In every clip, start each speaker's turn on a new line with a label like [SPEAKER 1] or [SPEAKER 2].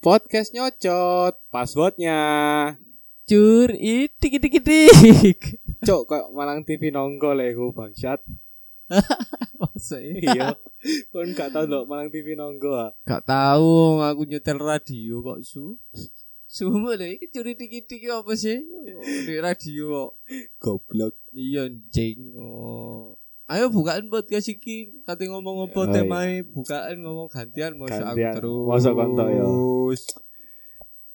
[SPEAKER 1] Podcast nyocot. Passwordnya.
[SPEAKER 2] Cur itik itik itik.
[SPEAKER 1] Cok, kok malang TV nonggol ya gue bangsat.
[SPEAKER 2] Maksudnya
[SPEAKER 1] Iya. Kon gak tau dok malang TV nonggol. ah.
[SPEAKER 2] gak tahu aku nyetel radio kok su. Sumpah lho iki cur itik itik iki apa sih? Di radio kok.
[SPEAKER 1] Goblok.
[SPEAKER 2] Iya anjing. Oh. Ayo bukaan podcast iki. Kate ngomong
[SPEAKER 1] Oh,
[SPEAKER 2] apa
[SPEAKER 1] iya.
[SPEAKER 2] temae? Bukaan ngomong gantian mosok aku
[SPEAKER 1] Gantian.
[SPEAKER 2] terus.
[SPEAKER 1] Mosok kontok, ya.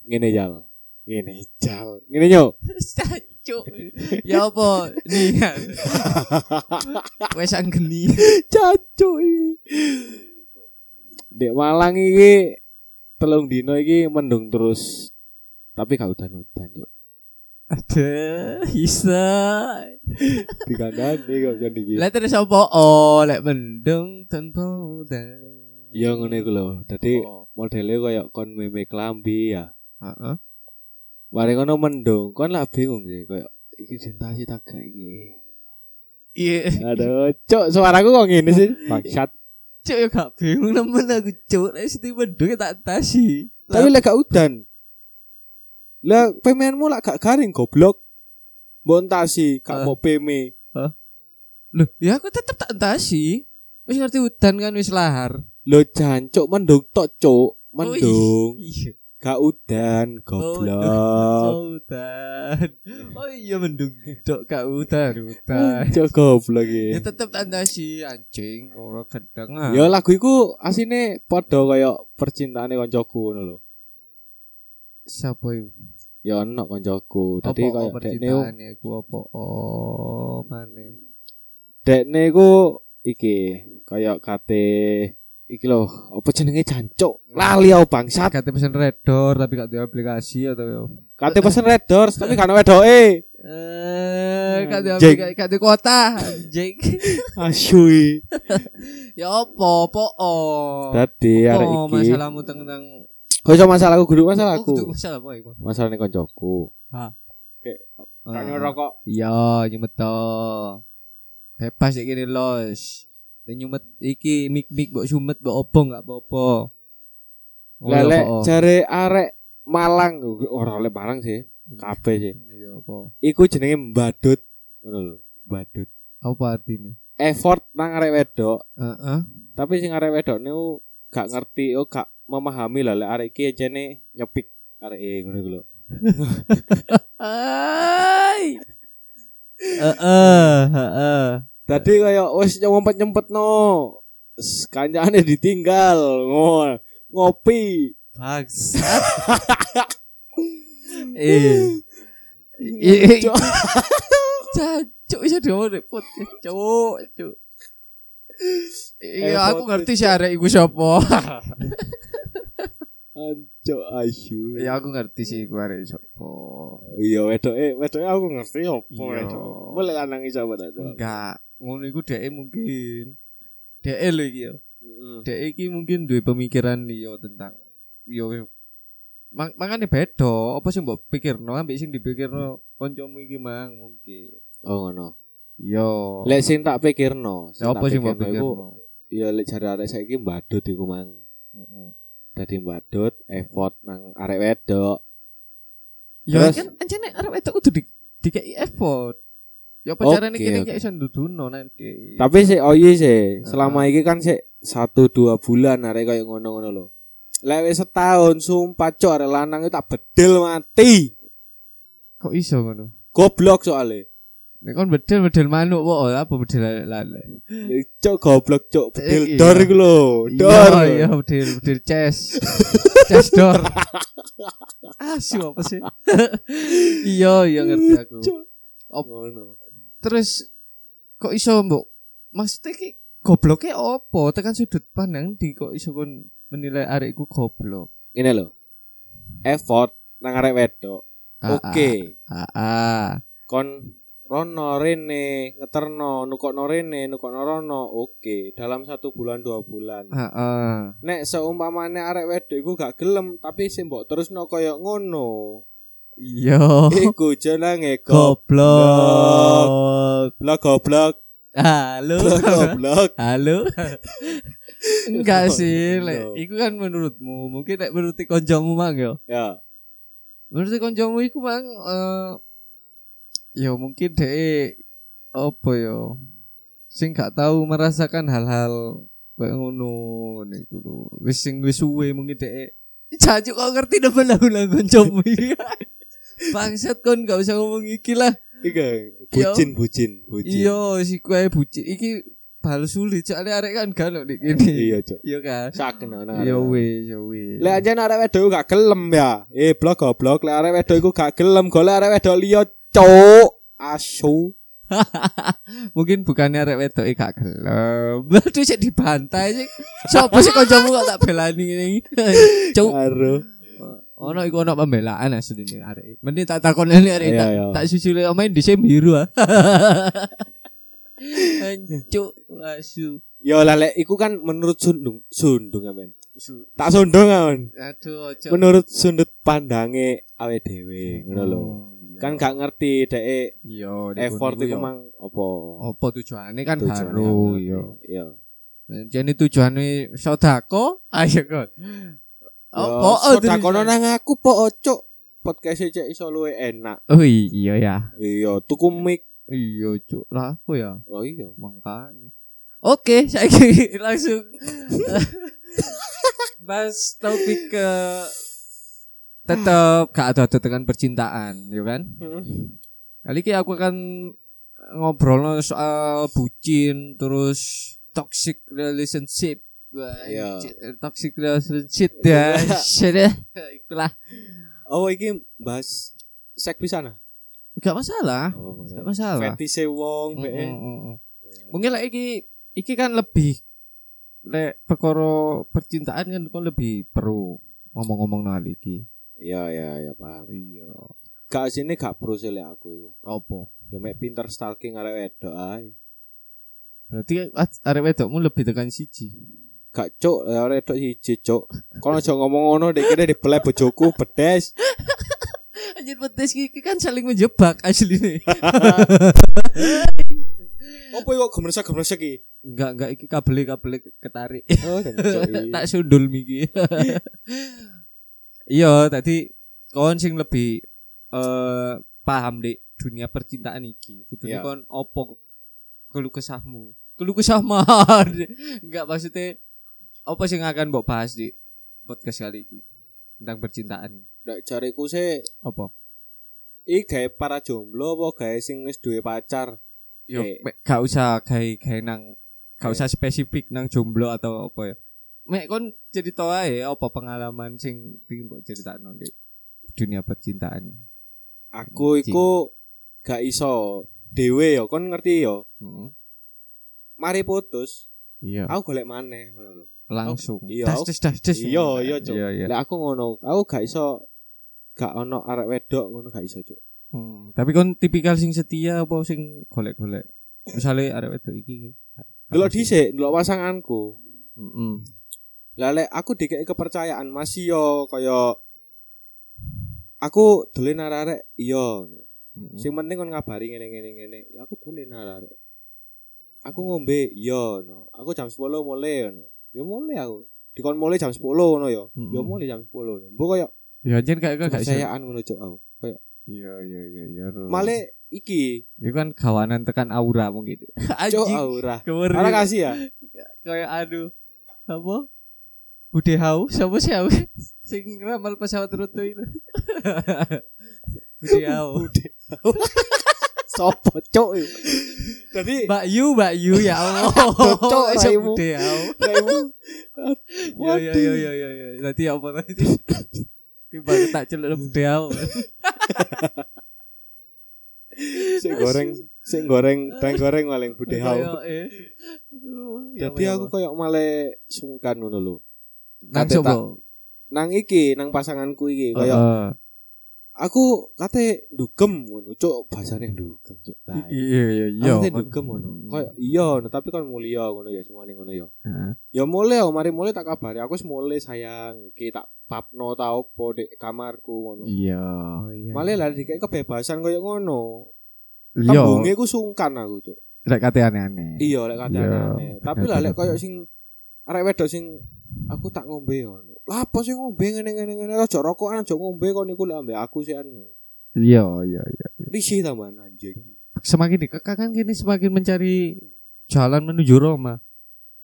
[SPEAKER 1] Gini jal. Gini jal. Gini nyok.
[SPEAKER 2] Cuk. Ya apa? Nih. Wes anggeni.
[SPEAKER 1] Cacoy. Dek Malang iki telung dino iki mendung terus. Tapi gak udan-udan yuk.
[SPEAKER 2] Ada bisa.
[SPEAKER 1] Dikandani kok jadi gitu.
[SPEAKER 2] Lah terus apa? Oh, lek mendung tanpa udan.
[SPEAKER 1] Ya ngene iku lho. Dadi
[SPEAKER 2] Oh.
[SPEAKER 1] modelnya kaya kon meme klambi ya.
[SPEAKER 2] Heeh.
[SPEAKER 1] Mari kono mendung, kon lah bingung sih kaya iki cinta sih tak gak iki.
[SPEAKER 2] Iya,
[SPEAKER 1] Aduh, cok suaraku kok ngene sih. Bangsat.
[SPEAKER 2] cuk ya gak bingung nemen aku cuk. Lek siti mendung tak tasi.
[SPEAKER 1] Tapi lek gak udan. Lah pemenmu lah gak garing goblok. Bontasi, gak
[SPEAKER 2] Ah.
[SPEAKER 1] mau peme.
[SPEAKER 2] Loh, ya aku tetep tak tasi. Wis ngerti udan kan wis lahar. Oh,
[SPEAKER 1] Lo jancuk mendung tok cuk, mendung
[SPEAKER 2] Iya.
[SPEAKER 1] gak udan goblok.
[SPEAKER 2] Oh, udan. Oh iya mendung dok gak udan, udan.
[SPEAKER 1] Cuk goblok iki.
[SPEAKER 2] Ya tetep tak tasi anjing ora ah. kedengar.
[SPEAKER 1] Ya lagu iku asine padha kaya percintaane koncoku ngono lho.
[SPEAKER 2] Sapa iku?
[SPEAKER 1] ya ono koncoku
[SPEAKER 2] Apa
[SPEAKER 1] tadi kaya
[SPEAKER 2] apa
[SPEAKER 1] dekne
[SPEAKER 2] percintaane aku apa? Oh, maneh.
[SPEAKER 1] dekne ku iki kaya kate iki lho apa jenenge jancuk lali aku bangsat
[SPEAKER 2] kate pesen redor tapi gak di aplikasi atau yo.
[SPEAKER 1] kate pesen red doors tapi kan wedoke
[SPEAKER 2] Eh, gak di
[SPEAKER 1] Anjing.
[SPEAKER 2] aplikasi, gak di kota. Anjing.
[SPEAKER 1] asyui
[SPEAKER 2] ya opo, po o.
[SPEAKER 1] dadi arek
[SPEAKER 2] Opo
[SPEAKER 1] iki
[SPEAKER 2] masalahmu tentang
[SPEAKER 1] kok iso masalahku guru masalahku
[SPEAKER 2] masalah apa iku?
[SPEAKER 1] masalahne koncoku
[SPEAKER 2] Ah.
[SPEAKER 1] kan ngerokok
[SPEAKER 2] Iya, nyumet to. Bebas iki gini los. Dan nyumet iki mik-mik mbok sumet mbok opo gak apa-apa. Oh, ya,
[SPEAKER 1] lelek
[SPEAKER 2] po, o.
[SPEAKER 1] jare arek Malang ora oleh Malang sih kabeh sih
[SPEAKER 2] Iya, apa?
[SPEAKER 1] iku jenenge mbadut ngono lho mbadut
[SPEAKER 2] Apa artine?
[SPEAKER 1] effort nang arek wedok
[SPEAKER 2] Heeh.
[SPEAKER 1] tapi sing arek wedok niku gak ngerti oh gak memahami lah lek arek iki jene nyepik arek e ngono iku lho
[SPEAKER 2] Hai. Heeh, heeh.
[SPEAKER 1] dadi
[SPEAKER 2] Iya.
[SPEAKER 1] kaya wis nyempet-nyempet no kancane ditinggal ngono ngopi
[SPEAKER 2] Bangsat. eh. Eh.
[SPEAKER 1] Cok.
[SPEAKER 2] iya. Cuk iso diomong repot. Cuk, cuk. Iya, aku
[SPEAKER 1] Repot,
[SPEAKER 2] ngerti sih arek iku sapa.
[SPEAKER 1] anco ayu
[SPEAKER 2] ya aku ngerti sih iku arek sapa.
[SPEAKER 1] iya wedoke wedoke aku ngerti opo
[SPEAKER 2] Iya.
[SPEAKER 1] wedok boleh lanang iso padha
[SPEAKER 2] Enggak, ngono iku dhek mungkin. Dhek lho iki ya. Dhek iki mungkin duwe pemikiran liya tentang yo Mang mangane beda, apa sih mbok pikirno ambek sing dipikirno kancamu iki mang mungkin. Iya.
[SPEAKER 1] oh ngono
[SPEAKER 2] Yo.
[SPEAKER 1] lek sing tak pikirno
[SPEAKER 2] Ya apa
[SPEAKER 1] tak
[SPEAKER 2] sih mbok
[SPEAKER 1] pikirno iku,
[SPEAKER 2] pikirno?
[SPEAKER 1] ya lek jare arek saiki mbadut iku mang
[SPEAKER 2] Heeh.
[SPEAKER 1] dadi mbadut effort nang arek wedok
[SPEAKER 2] Ya
[SPEAKER 1] Terus?
[SPEAKER 2] kan anjene arep itu kudu di dikei effort. Ya apa
[SPEAKER 1] Oke,
[SPEAKER 2] carane kene
[SPEAKER 1] oke.
[SPEAKER 2] gak iso nduduno nanti.
[SPEAKER 1] Tapi sih oyi sih, selama iki kan sih satu dua bulan arek kayak ngono-ngono lho. Lek wis setahun sumpah cok arek lanang itu tak bedil mati.
[SPEAKER 2] kok iso ngono?
[SPEAKER 1] Goblok soalnya
[SPEAKER 2] Nek kon bedel-bedel manuk kok oh, apa bedel lalek.
[SPEAKER 1] Cok goblok cok bedil
[SPEAKER 2] Iya.
[SPEAKER 1] dor iku lho, dor.
[SPEAKER 2] Iya, iya bedel bedel chest. chest door. Asu apa sih? iya, iya ngerti aku.
[SPEAKER 1] Cok.
[SPEAKER 2] Op.
[SPEAKER 1] Ngono.
[SPEAKER 2] Terus kok iso mbok maksudnya ki gobloknya opo tekan sudut pandang di kok iso kon menilai arekku goblok.
[SPEAKER 1] Ini lho. Effort nang arek wedok.
[SPEAKER 2] Ah,
[SPEAKER 1] Oke.
[SPEAKER 2] Ah, ah.
[SPEAKER 1] Kon Rono Rene ngeterno nukokno Rene nukokno Rono oke dalam satu bulan dua bulan
[SPEAKER 2] Ah, ah.
[SPEAKER 1] nek seumpamane arek wedok iku gak gelem tapi sing mbok terusno kaya ngono
[SPEAKER 2] Yo,
[SPEAKER 1] iku jenenge goblok
[SPEAKER 2] goblok.
[SPEAKER 1] goblok
[SPEAKER 2] Halo.
[SPEAKER 1] goblok
[SPEAKER 2] Halo. Enggak sih, lek.
[SPEAKER 1] No.
[SPEAKER 2] Iku kan menurutmu, mungkin lek menurut konjomu mang yo.
[SPEAKER 1] Ya.
[SPEAKER 2] Menurut konjomu iku mang eh yo mungkin dhek apa yo sing gak tahu merasakan hal-hal kayak ngono niku lho. Wis sing wis suwe mungkin dhek Jajuk kok ngerti depan lagu-lagu konjomu iki. Bangsat kon gak usah ngomong iki lah.
[SPEAKER 1] Iku
[SPEAKER 2] Yo.
[SPEAKER 1] bucin bucin bucin.
[SPEAKER 2] Iya, si kue bucin iki bal sulit soalnya arek kan gak lho dik kene.
[SPEAKER 1] Iya, Cuk.
[SPEAKER 2] Iya kan?
[SPEAKER 1] Saken ana.
[SPEAKER 2] Ya wis, ya wis.
[SPEAKER 1] Lek aja arek wedok iku gak gelem ya. Eh blok goblok, lek arek wedok iku gak gelem, golek arek wedok liya, cuk. Asu.
[SPEAKER 2] Mungkin bukannya arek wedok e gak gelem. Berarti sik dibantai sih. Sopo sih kancamu kok tak belani ngene iki? Cuk.
[SPEAKER 1] Karo.
[SPEAKER 2] Ono iku ono pembelaan asline arek. Mending tak takon ini
[SPEAKER 1] Iya,
[SPEAKER 2] arek tak
[SPEAKER 1] iya.
[SPEAKER 2] tak susule main di same biru ah. Cuk, asu.
[SPEAKER 1] Yo lah lek iku kan menurut sundung sundung amen.
[SPEAKER 2] Su-
[SPEAKER 1] Tak sundung amen.
[SPEAKER 2] Aduh, ojo.
[SPEAKER 1] Menurut sudut pandange awe dhewe, ngono lho.
[SPEAKER 2] Iya.
[SPEAKER 1] Kan gak ngerti dhek e
[SPEAKER 2] iya niku-
[SPEAKER 1] effort
[SPEAKER 2] niku
[SPEAKER 1] iku
[SPEAKER 2] yo.
[SPEAKER 1] mang apa.
[SPEAKER 2] Apa tujuannya kan
[SPEAKER 1] Tujuannya
[SPEAKER 2] haru
[SPEAKER 1] ngerti.
[SPEAKER 2] yo.
[SPEAKER 1] Iya.
[SPEAKER 2] Jadi tujuannya sodako, ayo kon. Apa? Oh,
[SPEAKER 1] Apa takono nang aku po cuk. Podcast cek iso luwe enak.
[SPEAKER 2] Oh iya ya.
[SPEAKER 1] Iya, tuku mic.
[SPEAKER 2] Iya cuk lah apa ya
[SPEAKER 1] Oh iya.
[SPEAKER 2] makanya. Oke saya kira langsung bahas topik ke tetap gak ada tetekan percintaan ya kan kali ini aku akan ngobrol soal bucin terus toxic relationship Wah,
[SPEAKER 1] Iya.
[SPEAKER 2] anjir, toxic relationship ya shit ya ikulah
[SPEAKER 1] Oh iki bahas sek pisan ah. Oh,
[SPEAKER 2] gak masalah gak masalah
[SPEAKER 1] Fetise wong eh.
[SPEAKER 2] Mm,
[SPEAKER 1] be.
[SPEAKER 2] mm, mm, mm. mungkin lah iki iki kan lebih lek perkara percintaan kan kok lebih perlu ngomong-ngomong hal iki
[SPEAKER 1] Iya iya iya paham.
[SPEAKER 2] iya
[SPEAKER 1] Gak sini gak perlu sih lek aku iku.
[SPEAKER 2] opo
[SPEAKER 1] Yo mek pinter stalking arek wedok ae.
[SPEAKER 2] berarti at- arek wedokmu lebih tekan siji
[SPEAKER 1] Gak cuk, lek arek wedok siji cuk. Kono aja ngomong ngono dek kira dibelai bojoku pedes.
[SPEAKER 2] anjir pedes iki kan saling menjebak asli nih
[SPEAKER 1] Opo kok gemersek-gemersek iki?
[SPEAKER 2] enggak enggak iki kabel kabel ketarik
[SPEAKER 1] Oh, dan cuk, i.
[SPEAKER 2] tak sundul miki iya tadi kon sing lebih eh paham dek dunia percintaan iki kudune
[SPEAKER 1] Iya.
[SPEAKER 2] kon opo keluh kesahmu keluh kesah mahar enggak maksudnya apa sing akan mbok bahas di podcast kali ini tentang percintaan
[SPEAKER 1] Lek jariku sih
[SPEAKER 2] apa
[SPEAKER 1] iki gawe para jomblo apa gawe sing wis duwe pacar?
[SPEAKER 2] yo
[SPEAKER 1] Eh.
[SPEAKER 2] mek gak usah gawe gawe nang gak
[SPEAKER 1] Iya.
[SPEAKER 2] usah spesifik nang jomblo atau apa ya mek kon cerita ae apa pengalaman sing pengin mbok critakno di dunia percintaan
[SPEAKER 1] Aku iku gak iso dhewe yo, kon ngerti yo.
[SPEAKER 2] Heeh.
[SPEAKER 1] Mari putus,
[SPEAKER 2] iya
[SPEAKER 1] aku golek maneh ngono lho.
[SPEAKER 2] langsung
[SPEAKER 1] Iya,
[SPEAKER 2] Das,
[SPEAKER 1] aku-
[SPEAKER 2] das, das, das.
[SPEAKER 1] Iya, iya, Cuk.
[SPEAKER 2] iya iya
[SPEAKER 1] Lek aku ngono, aku gak iso gak ono arek wedok ngono gak iso, Cuk.
[SPEAKER 2] Hmm, tapi kon tipikal sing setia apa sing golek-golek misalnya arek wedok iki Hmm.
[SPEAKER 1] Delok dhisik, delok pasanganku.
[SPEAKER 2] Heeh.
[SPEAKER 1] Lah lek aku dikeki kepercayaan masih yo kaya aku dolen arek-arek iya.
[SPEAKER 2] Hmm.
[SPEAKER 1] Sing penting kon ngabari ngene-ngene ngene. Ya aku dolen arek-arek. Aku ngombe iya no. Aku jam 10 mulai no. Ya mulai aku. Dikon mulai jam 10 ngono yo. Ya
[SPEAKER 2] Mm-mm.
[SPEAKER 1] mulai jam 10. no. Mbok kaya
[SPEAKER 2] Ya anjen kayak gak iso.
[SPEAKER 1] kepercayaan ngono Cuk aku. Kaya
[SPEAKER 2] Iya iya iya iya.
[SPEAKER 1] male iki
[SPEAKER 2] itu kan kawanan tekan aura mungkin.
[SPEAKER 1] Cuk oh.
[SPEAKER 2] Anjing.
[SPEAKER 1] aura.
[SPEAKER 2] Kemarin.
[SPEAKER 1] Ora kasih ya.
[SPEAKER 2] kayak aduh apa Bude Hau siapa sih aku sing ramal pesawat rute itu Bude Hau
[SPEAKER 1] Sopo cok Jadi
[SPEAKER 2] Mbak Yu Mbak Yu ya Allah
[SPEAKER 1] Cocok
[SPEAKER 2] Iso
[SPEAKER 1] raimu.
[SPEAKER 2] Bude Hau ya ya ya ya ya ya nanti apa tadi tiba tak celuk lo Bude Hau
[SPEAKER 1] Sik goreng Sik goreng Teng goreng maling budhe hau
[SPEAKER 2] Kayak, eh. Aduh, ya
[SPEAKER 1] Jadi
[SPEAKER 2] Allah.
[SPEAKER 1] aku koyok male sungkan ngono lho
[SPEAKER 2] nang
[SPEAKER 1] kate
[SPEAKER 2] coba Ah.
[SPEAKER 1] tak- Nang iki Nang pasanganku iki Koyok
[SPEAKER 2] Heeh.
[SPEAKER 1] Aku kate Dugem ngono Cuk Bahasane dugem Cuk Tai.
[SPEAKER 2] iya iya iya
[SPEAKER 1] Aku
[SPEAKER 2] Hmm.
[SPEAKER 1] kate dugem ngono Koyok iya ngono, Tapi kan mulia ngono ya Semuanya ngono ya
[SPEAKER 2] Heeh.
[SPEAKER 1] Ya mulai oh, Mari mulai tak kabari Aku wis mulai sayang Iki tak papno tau po dek kamarku ngono
[SPEAKER 2] iya Oh, iya
[SPEAKER 1] Malah lah dikek kebebasan koyok ngono
[SPEAKER 2] iya
[SPEAKER 1] Tembunge ku sungkan aku, Cuk.
[SPEAKER 2] lek kate aneh-aneh
[SPEAKER 1] Iya lek kate
[SPEAKER 2] Iya,
[SPEAKER 1] aneh. Tapi lah lek koyo sing arek wedok sing aku tak ngombe ngono. Lah apa sih ngombe ngene-ngene ngene aja rokokan aja ngombe kon niku lek ambek aku sih anu.
[SPEAKER 2] Iya, iya, iya.
[SPEAKER 1] Risih tambahan anjing.
[SPEAKER 2] Semakin dikekang kan gini semakin mencari jalan menuju Roma.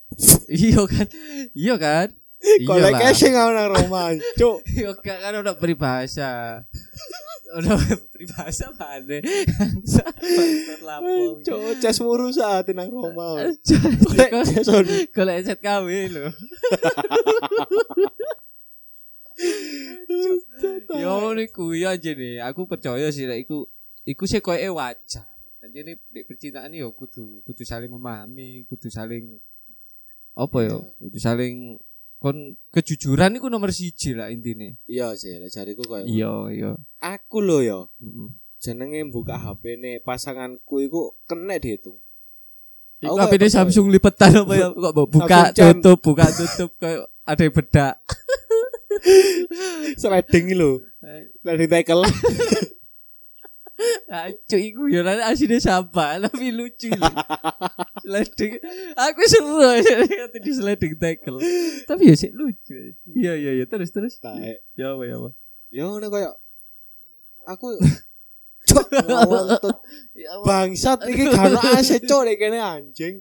[SPEAKER 2] iya kan? Iya kan? Iya
[SPEAKER 1] Kalau
[SPEAKER 2] lah.
[SPEAKER 1] kayak sing ngono nang Roma, cuk.
[SPEAKER 2] Iya kan kan udah peribahasa. Udah peribahasa mana? Bangsa, bangsa lapor.
[SPEAKER 1] Cuk, jas muru saat nang Roma. Golek
[SPEAKER 2] Cok.
[SPEAKER 1] jas on.
[SPEAKER 2] Golek set KW lho. Yo ngene kuwi aja nih. Aku percaya sih lek iku iku sih koyoke wajar. Anjene di percintaan yo kudu kudu saling memahami, kudu saling apa yo? Kudu saling kon kejujuran iku nomor siji lah intine.
[SPEAKER 1] Iya sih, lek jariku koyo.
[SPEAKER 2] Iya, iya.
[SPEAKER 1] Aku lho yo.
[SPEAKER 2] Mm-mm.
[SPEAKER 1] jenenge buka HP ne pasanganku iku kena dihitung.
[SPEAKER 2] Iku
[SPEAKER 1] Aku
[SPEAKER 2] apa
[SPEAKER 1] kayak
[SPEAKER 2] ini Samsung lipetan apa ya? Kok bu- buka
[SPEAKER 1] Samsung jam.
[SPEAKER 2] tutup, buka tutup kayak ada yang bedak.
[SPEAKER 1] Sliding lho. Lah ditekel.
[SPEAKER 2] Acu Ah, iku yo lan asine sampah tapi lucu lho. Sleding. Aku seru kata di sleding tackle. Tapi ya sih lucu. Iya iya iya terus terus.
[SPEAKER 1] Taek.
[SPEAKER 2] Ya apa ya apa.
[SPEAKER 1] Ya ngono koyo aku Cok, ngawur, tut.
[SPEAKER 2] Ya apa.
[SPEAKER 1] bangsat iki gak ono AC cok nek kene anjing.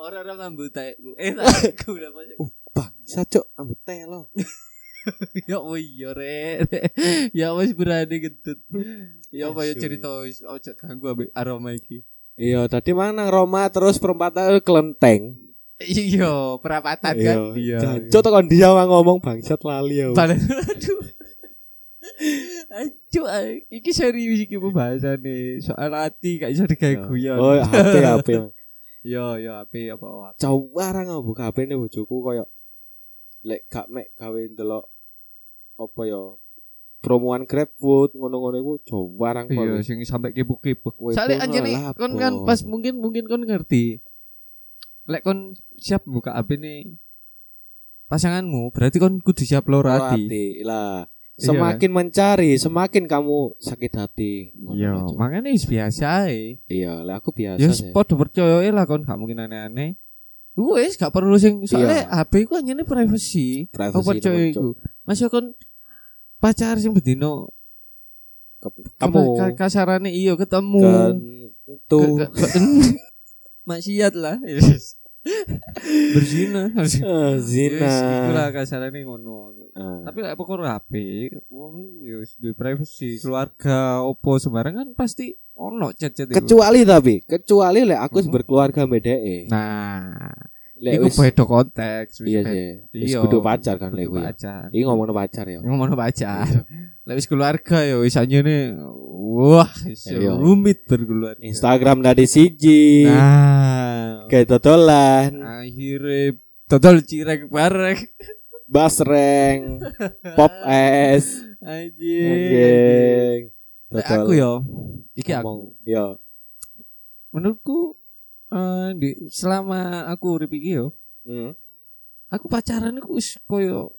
[SPEAKER 2] Ora-ora mambu taekku. Eh taekku udah masuk.
[SPEAKER 1] Bangsat cok ambek telo.
[SPEAKER 2] Ya oh iya re. Ya wis berani gendut. Ya apa ya
[SPEAKER 1] Asu.
[SPEAKER 2] cerita wis ojo ganggu ambek aroma iki.
[SPEAKER 1] Iya, tadi mana nang Roma terus perempatan kelenteng.
[SPEAKER 2] Iya, perapatan kan.
[SPEAKER 1] Iya. Jancuk tekan dia mah ngomong bangsat lali ya, aku.
[SPEAKER 2] Balen aduh. ah, Acu, iki serius iki pembahasan nih soal hati gak bisa digawe guyon.
[SPEAKER 1] Oh, HP HP.
[SPEAKER 2] Yo yo ape apa apa.
[SPEAKER 1] Coba ora buka HP ne bojoku koyo lek gak mek gawe ndelok apa ya promoan GrabFood ngono-ngono iku coba rang
[SPEAKER 2] Iya sing sampai kepo-kepo.
[SPEAKER 1] Woi,
[SPEAKER 2] Soale
[SPEAKER 1] pono
[SPEAKER 2] anjene
[SPEAKER 1] lah,
[SPEAKER 2] kon
[SPEAKER 1] po.
[SPEAKER 2] kan pas mungkin mungkin kon ngerti. Lek kon siap buka HP nih pasanganmu berarti kon kudu siap loro ati.
[SPEAKER 1] hati lah.
[SPEAKER 2] Iya,
[SPEAKER 1] Semakin mencari, semakin kamu sakit hati.
[SPEAKER 2] Yo, makanya wis biasa ae.
[SPEAKER 1] Iya, lah aku biasa
[SPEAKER 2] Ya
[SPEAKER 1] sih.
[SPEAKER 2] padha percaya ae lah kon gak mungkin aneh-aneh. Wes gak perlu sing soalnya
[SPEAKER 1] Iya.
[SPEAKER 2] HP ku anjene privacy.
[SPEAKER 1] Privacy
[SPEAKER 2] Aku percaya
[SPEAKER 1] nomor
[SPEAKER 2] iku. Mas yo kon pacar sing bedino
[SPEAKER 1] cok. kamu
[SPEAKER 2] ka- kasarane iya
[SPEAKER 1] kan
[SPEAKER 2] ketemu.
[SPEAKER 1] itu
[SPEAKER 2] Ke- ke- ke- Maksiat lah. Berzina.
[SPEAKER 1] eh, zina.
[SPEAKER 2] Iku lah kasarane ngono.
[SPEAKER 1] Ah,
[SPEAKER 2] Tapi lek pokok HP, wong yo wis duwe privacy, keluarga opo sembarang kan pasti ono chat-chat iku.
[SPEAKER 1] kecuali tapi, kecuali lek aku
[SPEAKER 2] Mhm.
[SPEAKER 1] berkeluarga BDE.
[SPEAKER 2] Nah,
[SPEAKER 1] Lek
[SPEAKER 2] iku
[SPEAKER 1] wis-
[SPEAKER 2] beda konteks. wis
[SPEAKER 1] iya
[SPEAKER 2] beda.
[SPEAKER 1] sih. Wis
[SPEAKER 2] Iya.
[SPEAKER 1] kudu pacar kan lek
[SPEAKER 2] Kudu
[SPEAKER 1] kuwi.
[SPEAKER 2] pacar. Iya.
[SPEAKER 1] Iki ngomongno pacar ya.
[SPEAKER 2] Ngomong pacar. Lah wis keluarga ya wis anjene wah wis
[SPEAKER 1] Iya.
[SPEAKER 2] rumit berkeluarga.
[SPEAKER 1] Instagram dari siji.
[SPEAKER 2] Nah,
[SPEAKER 1] Kayak totolan,
[SPEAKER 2] akhirnya total cirek bareng
[SPEAKER 1] basreng, pop es,
[SPEAKER 2] Iya, anjing.
[SPEAKER 1] anjing.
[SPEAKER 2] Lek Aku
[SPEAKER 1] Totol.
[SPEAKER 2] yo. Iki aku.
[SPEAKER 1] Ngomong. iya. Yo.
[SPEAKER 2] Menurutku eh, di- selama aku urip iki yo,
[SPEAKER 1] Hmm.
[SPEAKER 2] aku pacaran iku wis koyo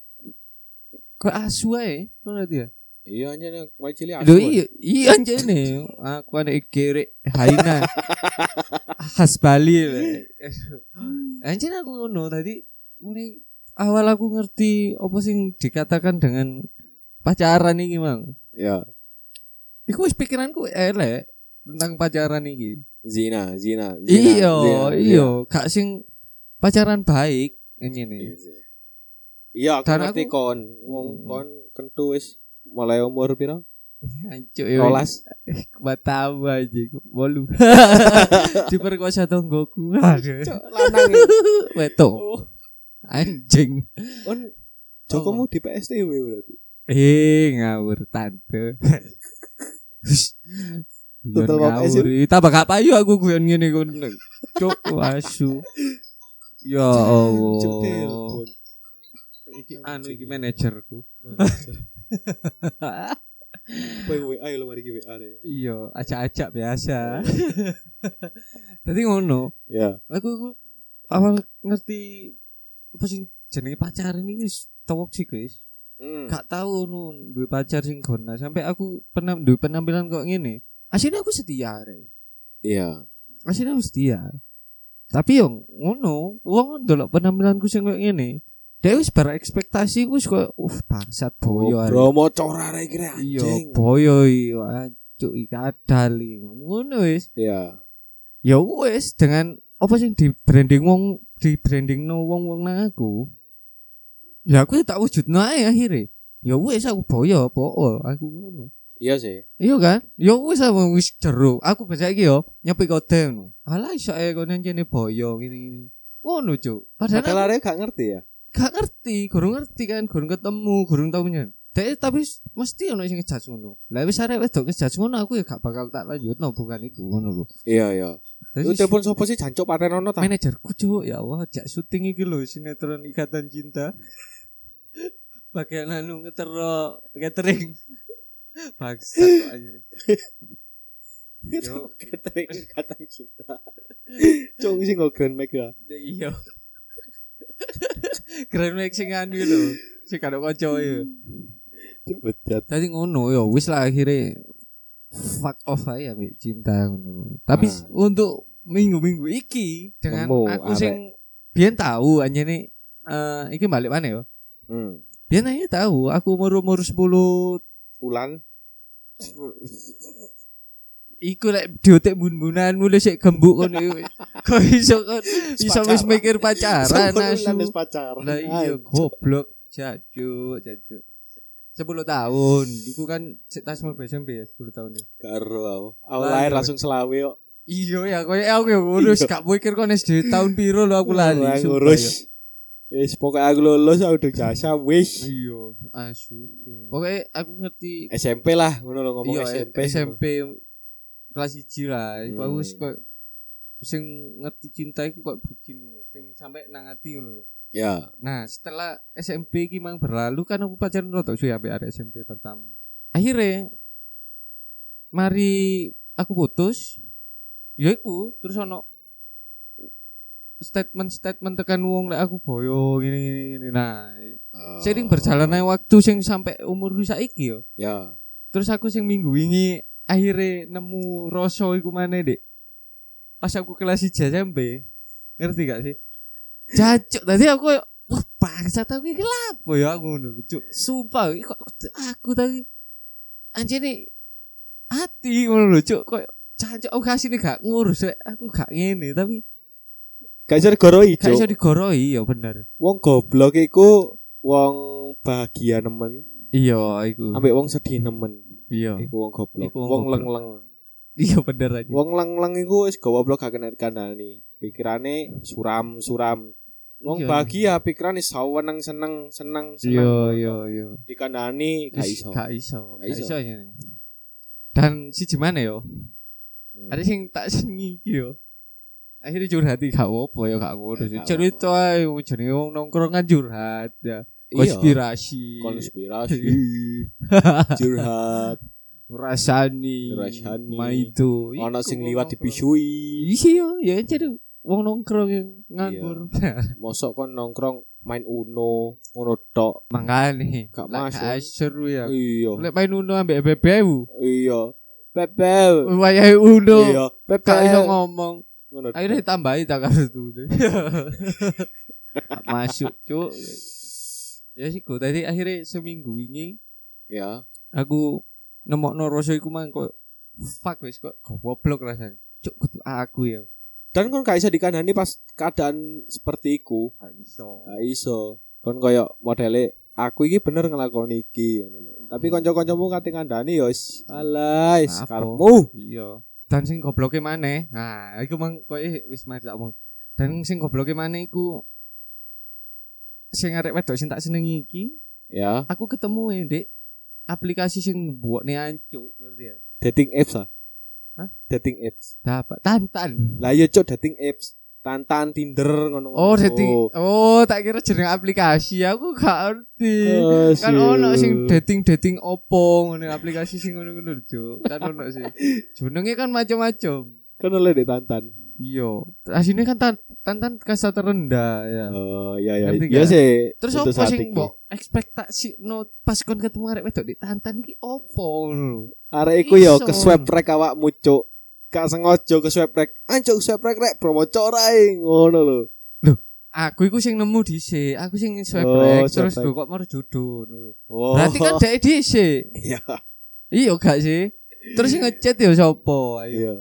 [SPEAKER 2] ke asu ae, ngono ya.
[SPEAKER 1] Iya aja nih, mau cilik
[SPEAKER 2] Lho iya, iya anjene. Aku anak kere Haina. Khas Bali. le. Anjene aku ngono tadi muni awal aku ngerti apa sing dikatakan dengan pacaran iki, Mang.
[SPEAKER 1] Iya.
[SPEAKER 2] Iku wis pikiranku elek tentang pacaran iki.
[SPEAKER 1] Zina, zina, zina.
[SPEAKER 2] Iya,
[SPEAKER 1] zina,
[SPEAKER 2] iya, gak sing pacaran baik
[SPEAKER 1] zina.
[SPEAKER 2] ngene.
[SPEAKER 1] Iya, aku
[SPEAKER 2] Dan
[SPEAKER 1] ngerti
[SPEAKER 2] aku-
[SPEAKER 1] kon. Wong kon kentu wis mulai umur piro?
[SPEAKER 2] Ancuk yo.
[SPEAKER 1] Rolas.
[SPEAKER 2] Matamu aja Bolu Diperkosa tonggoku Aduh
[SPEAKER 1] Cok, lanang ya.
[SPEAKER 2] Wetok
[SPEAKER 1] Oh,
[SPEAKER 2] Anjing.
[SPEAKER 1] Kon Jokomu di PSTW berarti.
[SPEAKER 2] Eh, ngawur tante. Hush. Guyon
[SPEAKER 1] Total pop asu.
[SPEAKER 2] ngawur. Ih, Tambah gak payu aku guyon ngene kon. Cuk, wasu. Ya
[SPEAKER 1] Cuk,
[SPEAKER 2] Allah.
[SPEAKER 1] telepon.
[SPEAKER 2] Iki anu iki manajerku.
[SPEAKER 1] Woi, woi, ayo lo mari ki WA deh.
[SPEAKER 2] Iya, acak-acak biasa. Tadi ngono,
[SPEAKER 1] Ya.
[SPEAKER 2] aku, aku awal ngerti apa sih jenenge pacaran ini wis toksik guys. gak tahu nu duwe pacar sing gona sampai aku pernah duwe penampilan kok ngene aslinya aku setia re
[SPEAKER 1] Iya.
[SPEAKER 2] aslinya aku setia Tapi yo ngono, wong ndelok penampilanku sing koyo ngene. Dia wis bar ekspektasi ku wis koyo uh bangsat boyo. arek."
[SPEAKER 1] Oh, Bro, mau cora arek iki
[SPEAKER 2] Iya,
[SPEAKER 1] anjing.
[SPEAKER 2] boyo iyo, cuk kadal iki. Ngono wis.
[SPEAKER 1] Iya.
[SPEAKER 2] Ya wis dengan apa sih di branding wong di branding no wong wong nang aku. Ya aku tak wujud nae akhirnya. Ya wis aku boyo apa aku ngono.
[SPEAKER 1] Iya sih.
[SPEAKER 2] Iya kan? Ya wis aku wis jero. Aku bisa iki yo nyepi kode ngono. Alah iso ae kono jene boyo ngene-ngene. Ngono, Cuk. Padahal aku
[SPEAKER 1] Padahal arek gak ngerti ya.
[SPEAKER 2] gak ngerti, gurung ngerti kan, gurung ketemu, gurung tau nyen. Dek, tapi s- mesti ono sing ngejudge ngono. Lah wis arek wedok ngejudge ngono aku ya gak bakal tak lanjutno hubungan iku ngono lho.
[SPEAKER 1] Iya, iya. Lu
[SPEAKER 2] Dadi
[SPEAKER 1] telepon sapa sih jancuk paten ono ta?
[SPEAKER 2] manajerku Cuk, ya Allah, jak syuting iki lho sinetron Ikatan Cinta. Bagian anu ngetero catering. Bangsat anjir. Yo.
[SPEAKER 1] Catering ikatan cinta. Cung sing nggo grand mic ya.
[SPEAKER 2] Ya, Iya. Grand Max sing anu lho, sing karo kanca ya.
[SPEAKER 1] Bedat.
[SPEAKER 2] Dadi ngono ya wis lah akhire fuck off aja ambek cinta ngono. Tapi
[SPEAKER 1] Ah.
[SPEAKER 2] untuk minggu-minggu iki dengan
[SPEAKER 1] Nemu,
[SPEAKER 2] aku
[SPEAKER 1] arek.
[SPEAKER 2] sing biyen tahu anjene eh iki balik mana ya?
[SPEAKER 1] Hmm.
[SPEAKER 2] Biyen aja tahu aku umur-umur 10
[SPEAKER 1] Ulan.
[SPEAKER 2] Iku lek diotek bun-bunan mulai sik gembuk kono iku. Kok iso kok iso wis
[SPEAKER 1] Pacaran.
[SPEAKER 2] mikir pacaran asu.
[SPEAKER 1] Ulan wis pacaran.
[SPEAKER 2] Lah iya
[SPEAKER 1] Anjing.
[SPEAKER 2] goblok jajuk jajuk. 10 tahun, iku kan cek tasmu SMP ya 10 tahun ya.
[SPEAKER 1] Karo aku. Aku
[SPEAKER 2] Lan,
[SPEAKER 1] lahir
[SPEAKER 2] yo.
[SPEAKER 1] langsung selawe kok.
[SPEAKER 2] Iya ya koyo aku ya ngurus gak mikir kon SD tahun piro lo aku lali.
[SPEAKER 1] Lah,
[SPEAKER 2] sumpah, ya.
[SPEAKER 1] ngurus. Wis pokoknya aku lulus aku udah jasa wis.
[SPEAKER 2] Iya, asu. Pokoknya aku ngerti
[SPEAKER 1] SMP lah ngono lo ngomong
[SPEAKER 2] Oh. iya eh,
[SPEAKER 1] SMP.
[SPEAKER 2] SMP kelas 1 lah. Iku aku
[SPEAKER 1] Hmm.
[SPEAKER 2] wis kok sing ngerti cinta iku kok bucin ngono. sing sampe nang ati ngono lho.
[SPEAKER 1] Ya.
[SPEAKER 2] Nah, setelah SMP iki mang berlalu kan aku pacaran rotok sih sampai ada SMP pertama. Akhirnya mari aku putus. Ya iku terus ono statement-statement tekan wong lek aku boyo gini gini, gini. Nah,
[SPEAKER 1] Oh.
[SPEAKER 2] sering berjalannya waktu sing sampai umurku saiki yo.
[SPEAKER 1] Ya.
[SPEAKER 2] Terus aku sing minggu ini akhirnya nemu rasa iku mana dek. Pas aku kelas 1 SMP, ngerti gak sih? Jancuk tadi aku kayak, wah bangsa aku iki lapo ya aku ngono lho, cuk. Sumpah iki kok aku tadi anjene hati ngono lho cuk kok jancuk aku kasih gak ngurus rek. aku gak ngene tapi
[SPEAKER 1] Gak iso digoroi,
[SPEAKER 2] gak iso
[SPEAKER 1] Cuk.
[SPEAKER 2] digoroi ya bener.
[SPEAKER 1] Wong goblok iku wong bahagia nemen,
[SPEAKER 2] Iya iku.
[SPEAKER 1] ambek wong sedih nemen.
[SPEAKER 2] Iya.
[SPEAKER 1] Iku wong goblok.
[SPEAKER 2] Iku wong
[SPEAKER 1] Wong
[SPEAKER 2] goblok.
[SPEAKER 1] leng-leng.
[SPEAKER 2] Iya bener aja.
[SPEAKER 1] Wong leng-leng iku wis goblok gak kena kandhani. Pikirane suram-suram. Wong
[SPEAKER 2] Iya.
[SPEAKER 1] bahagia pikirane saweneng seneng seneng
[SPEAKER 2] Iya
[SPEAKER 1] seneng.
[SPEAKER 2] iya iya.
[SPEAKER 1] Dikandhani gak iso.
[SPEAKER 2] Gak iso.
[SPEAKER 1] Gak
[SPEAKER 2] Gak
[SPEAKER 1] iso.
[SPEAKER 2] iso anjene. Dan si gimana yo?
[SPEAKER 1] Hmm.
[SPEAKER 2] Ada sing tak sengi iki yo. Akhirnya curhat iki gak apa ya gak ngono.
[SPEAKER 1] Eh, Gak apa.
[SPEAKER 2] Cerita ae jenenge wong nongkrongan curhat ya.
[SPEAKER 1] Iya.
[SPEAKER 2] Konspirasi.
[SPEAKER 1] konspirasi curhat
[SPEAKER 2] Ngrasani.
[SPEAKER 1] Ngrasani.
[SPEAKER 2] Ma itu.
[SPEAKER 1] ana
[SPEAKER 2] Iku
[SPEAKER 1] sing
[SPEAKER 2] wong
[SPEAKER 1] liwat
[SPEAKER 2] nongkrong.
[SPEAKER 1] dibisui
[SPEAKER 2] Iya, ya jadi wong nongkrong yang nganggur.
[SPEAKER 1] mosok kon nongkrong main uno ngono tok
[SPEAKER 2] Makane.
[SPEAKER 1] Gak
[SPEAKER 2] Lah,
[SPEAKER 1] masuk.
[SPEAKER 2] Gak seru ya.
[SPEAKER 1] iya
[SPEAKER 2] Lek main uno ambek BBU.
[SPEAKER 1] iya bebel
[SPEAKER 2] Wayahe uno.
[SPEAKER 1] iya
[SPEAKER 2] Gak
[SPEAKER 1] bebel
[SPEAKER 2] iso ngomong.
[SPEAKER 1] ngono tok.
[SPEAKER 2] Akhirnya tambahin tak kartu dulu. Masuk cuk. Ya sih gue tadi akhirnya seminggu ini
[SPEAKER 1] ya
[SPEAKER 2] aku nemok noroso iku mang kok fuck wis kok goblok rasanya. Cuk kudu aku ya.
[SPEAKER 1] dan kon gak iso dikandani pas keadaan seperti iku
[SPEAKER 2] Gak iso.
[SPEAKER 1] gak Ah, iso kon koyo modele aku iki bener ngelakoni iki ngono lho. tapi kanca-kancamu kate ngandani ya wis alah wis
[SPEAKER 2] Hmm. Apa?
[SPEAKER 1] karepmu
[SPEAKER 2] Iya. Dan sing gobloke maneh. Nah, iku mang koe wis mari tak omong. Dan sing gobloke maneh iku sing arek wedok sing tak senengi iki,
[SPEAKER 1] ya
[SPEAKER 2] aku ketemu ya, Dik. Aplikasi sing mbokne ancuk, ngerti ya?
[SPEAKER 1] dating apps lah
[SPEAKER 2] Hah?
[SPEAKER 1] dating apps
[SPEAKER 2] Dapat tantan.
[SPEAKER 1] Lah iya cok dating apps, Tantan, Tinder ngono.
[SPEAKER 2] Oh, dating. Oh, tak kira jeneng aplikasi. Aku gak ngerti.
[SPEAKER 1] Oh,
[SPEAKER 2] Kan ono sing dating-dating opo ngono aplikasi sing ngono-ngono lho, Cuk. Kan ono sih. Jenenge kan macam-macam.
[SPEAKER 1] kan oleh di Tantan.
[SPEAKER 2] Iya. Asine kan tan- tantan kasta terendah ya.
[SPEAKER 1] Oh, iya iya.
[SPEAKER 2] Ngerti
[SPEAKER 1] Iya
[SPEAKER 2] gak?
[SPEAKER 1] sih.
[SPEAKER 2] Terus
[SPEAKER 1] untuk
[SPEAKER 2] opo
[SPEAKER 1] saat
[SPEAKER 2] sing
[SPEAKER 1] iki.
[SPEAKER 2] mbok ekspektasi no pas kon ketemu arek wedok di tantan iki opo ngono lho.
[SPEAKER 1] Arek iku ya yo
[SPEAKER 2] Iso.
[SPEAKER 1] ke swipe rek awakmu cok. gak sengaja ke swipe rek ancuk swipe rek rek promo corai ngono lho
[SPEAKER 2] Aku iku sing nemu dhisik, aku sing swipe
[SPEAKER 1] Oh,
[SPEAKER 2] rek,
[SPEAKER 1] swipe
[SPEAKER 2] terus
[SPEAKER 1] rek.
[SPEAKER 2] lho kok merjudo ngono.
[SPEAKER 1] oh.
[SPEAKER 2] Berarti kan dhek dhisik.
[SPEAKER 1] iya
[SPEAKER 2] Iya gak sih? Terus sing ngechat ya sapa? Ayo.
[SPEAKER 1] iya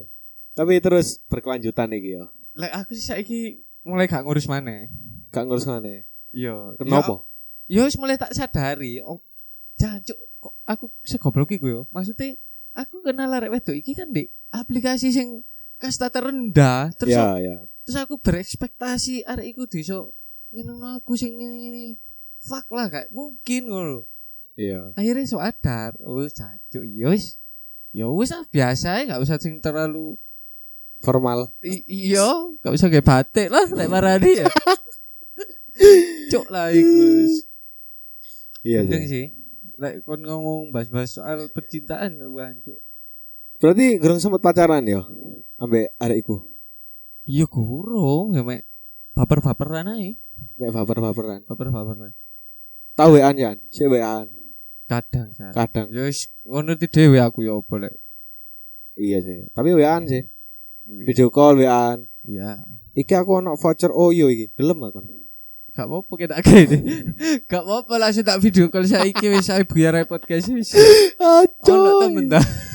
[SPEAKER 1] tapi terus berkelanjutan iki ya
[SPEAKER 2] Lek aku sih saiki mulai gak ngurus maneh.
[SPEAKER 1] gak ngurus ngene
[SPEAKER 2] Iya.
[SPEAKER 1] kenapa
[SPEAKER 2] Ya wis mulai tak sadari, oh, jancuk kok aku segoblok iku yo. Maksudnya aku kenal arek wedok iki kan di aplikasi sing kasta terendah terus
[SPEAKER 1] ya ya
[SPEAKER 2] terus aku berekspektasi arek iku diso nyenengno aku sing ngene-ngene. Fuck lah gak mungkin ngono.
[SPEAKER 1] iya
[SPEAKER 2] Akhirnya so sadar, oh jancuk ya wis. Ya wis ah biasa gak usah sing terlalu
[SPEAKER 1] formal
[SPEAKER 2] I- iya, gak usah kayak batik lah, lek marani ya. Cuk lah iku.
[SPEAKER 1] iya
[SPEAKER 2] Mending
[SPEAKER 1] sih.
[SPEAKER 2] sih. Lek kon ngomong bahas-bahas soal percintaan wah cuk.
[SPEAKER 1] berarti gerung sempat pacaran ya ambek arek iku
[SPEAKER 2] Iya kurung ya mek. Baper-baperan ae,
[SPEAKER 1] mek baper-baperan
[SPEAKER 2] baper-baperan.
[SPEAKER 1] tau wean ya si wean
[SPEAKER 2] Kadang jar.
[SPEAKER 1] kadang
[SPEAKER 2] Ya wis ngono ti dhewe aku ya apa lek.
[SPEAKER 1] iya sih tapi wean sih
[SPEAKER 2] Iya.
[SPEAKER 1] video call wean
[SPEAKER 2] Ya,
[SPEAKER 1] iki aku ono voucher Oyo iki gelem aku
[SPEAKER 2] gak apa-apa kita gini. Gak apa-apa langsung tak video call saiki wis ae biar repot guys wis.
[SPEAKER 1] Aduh.
[SPEAKER 2] Ono temen dah.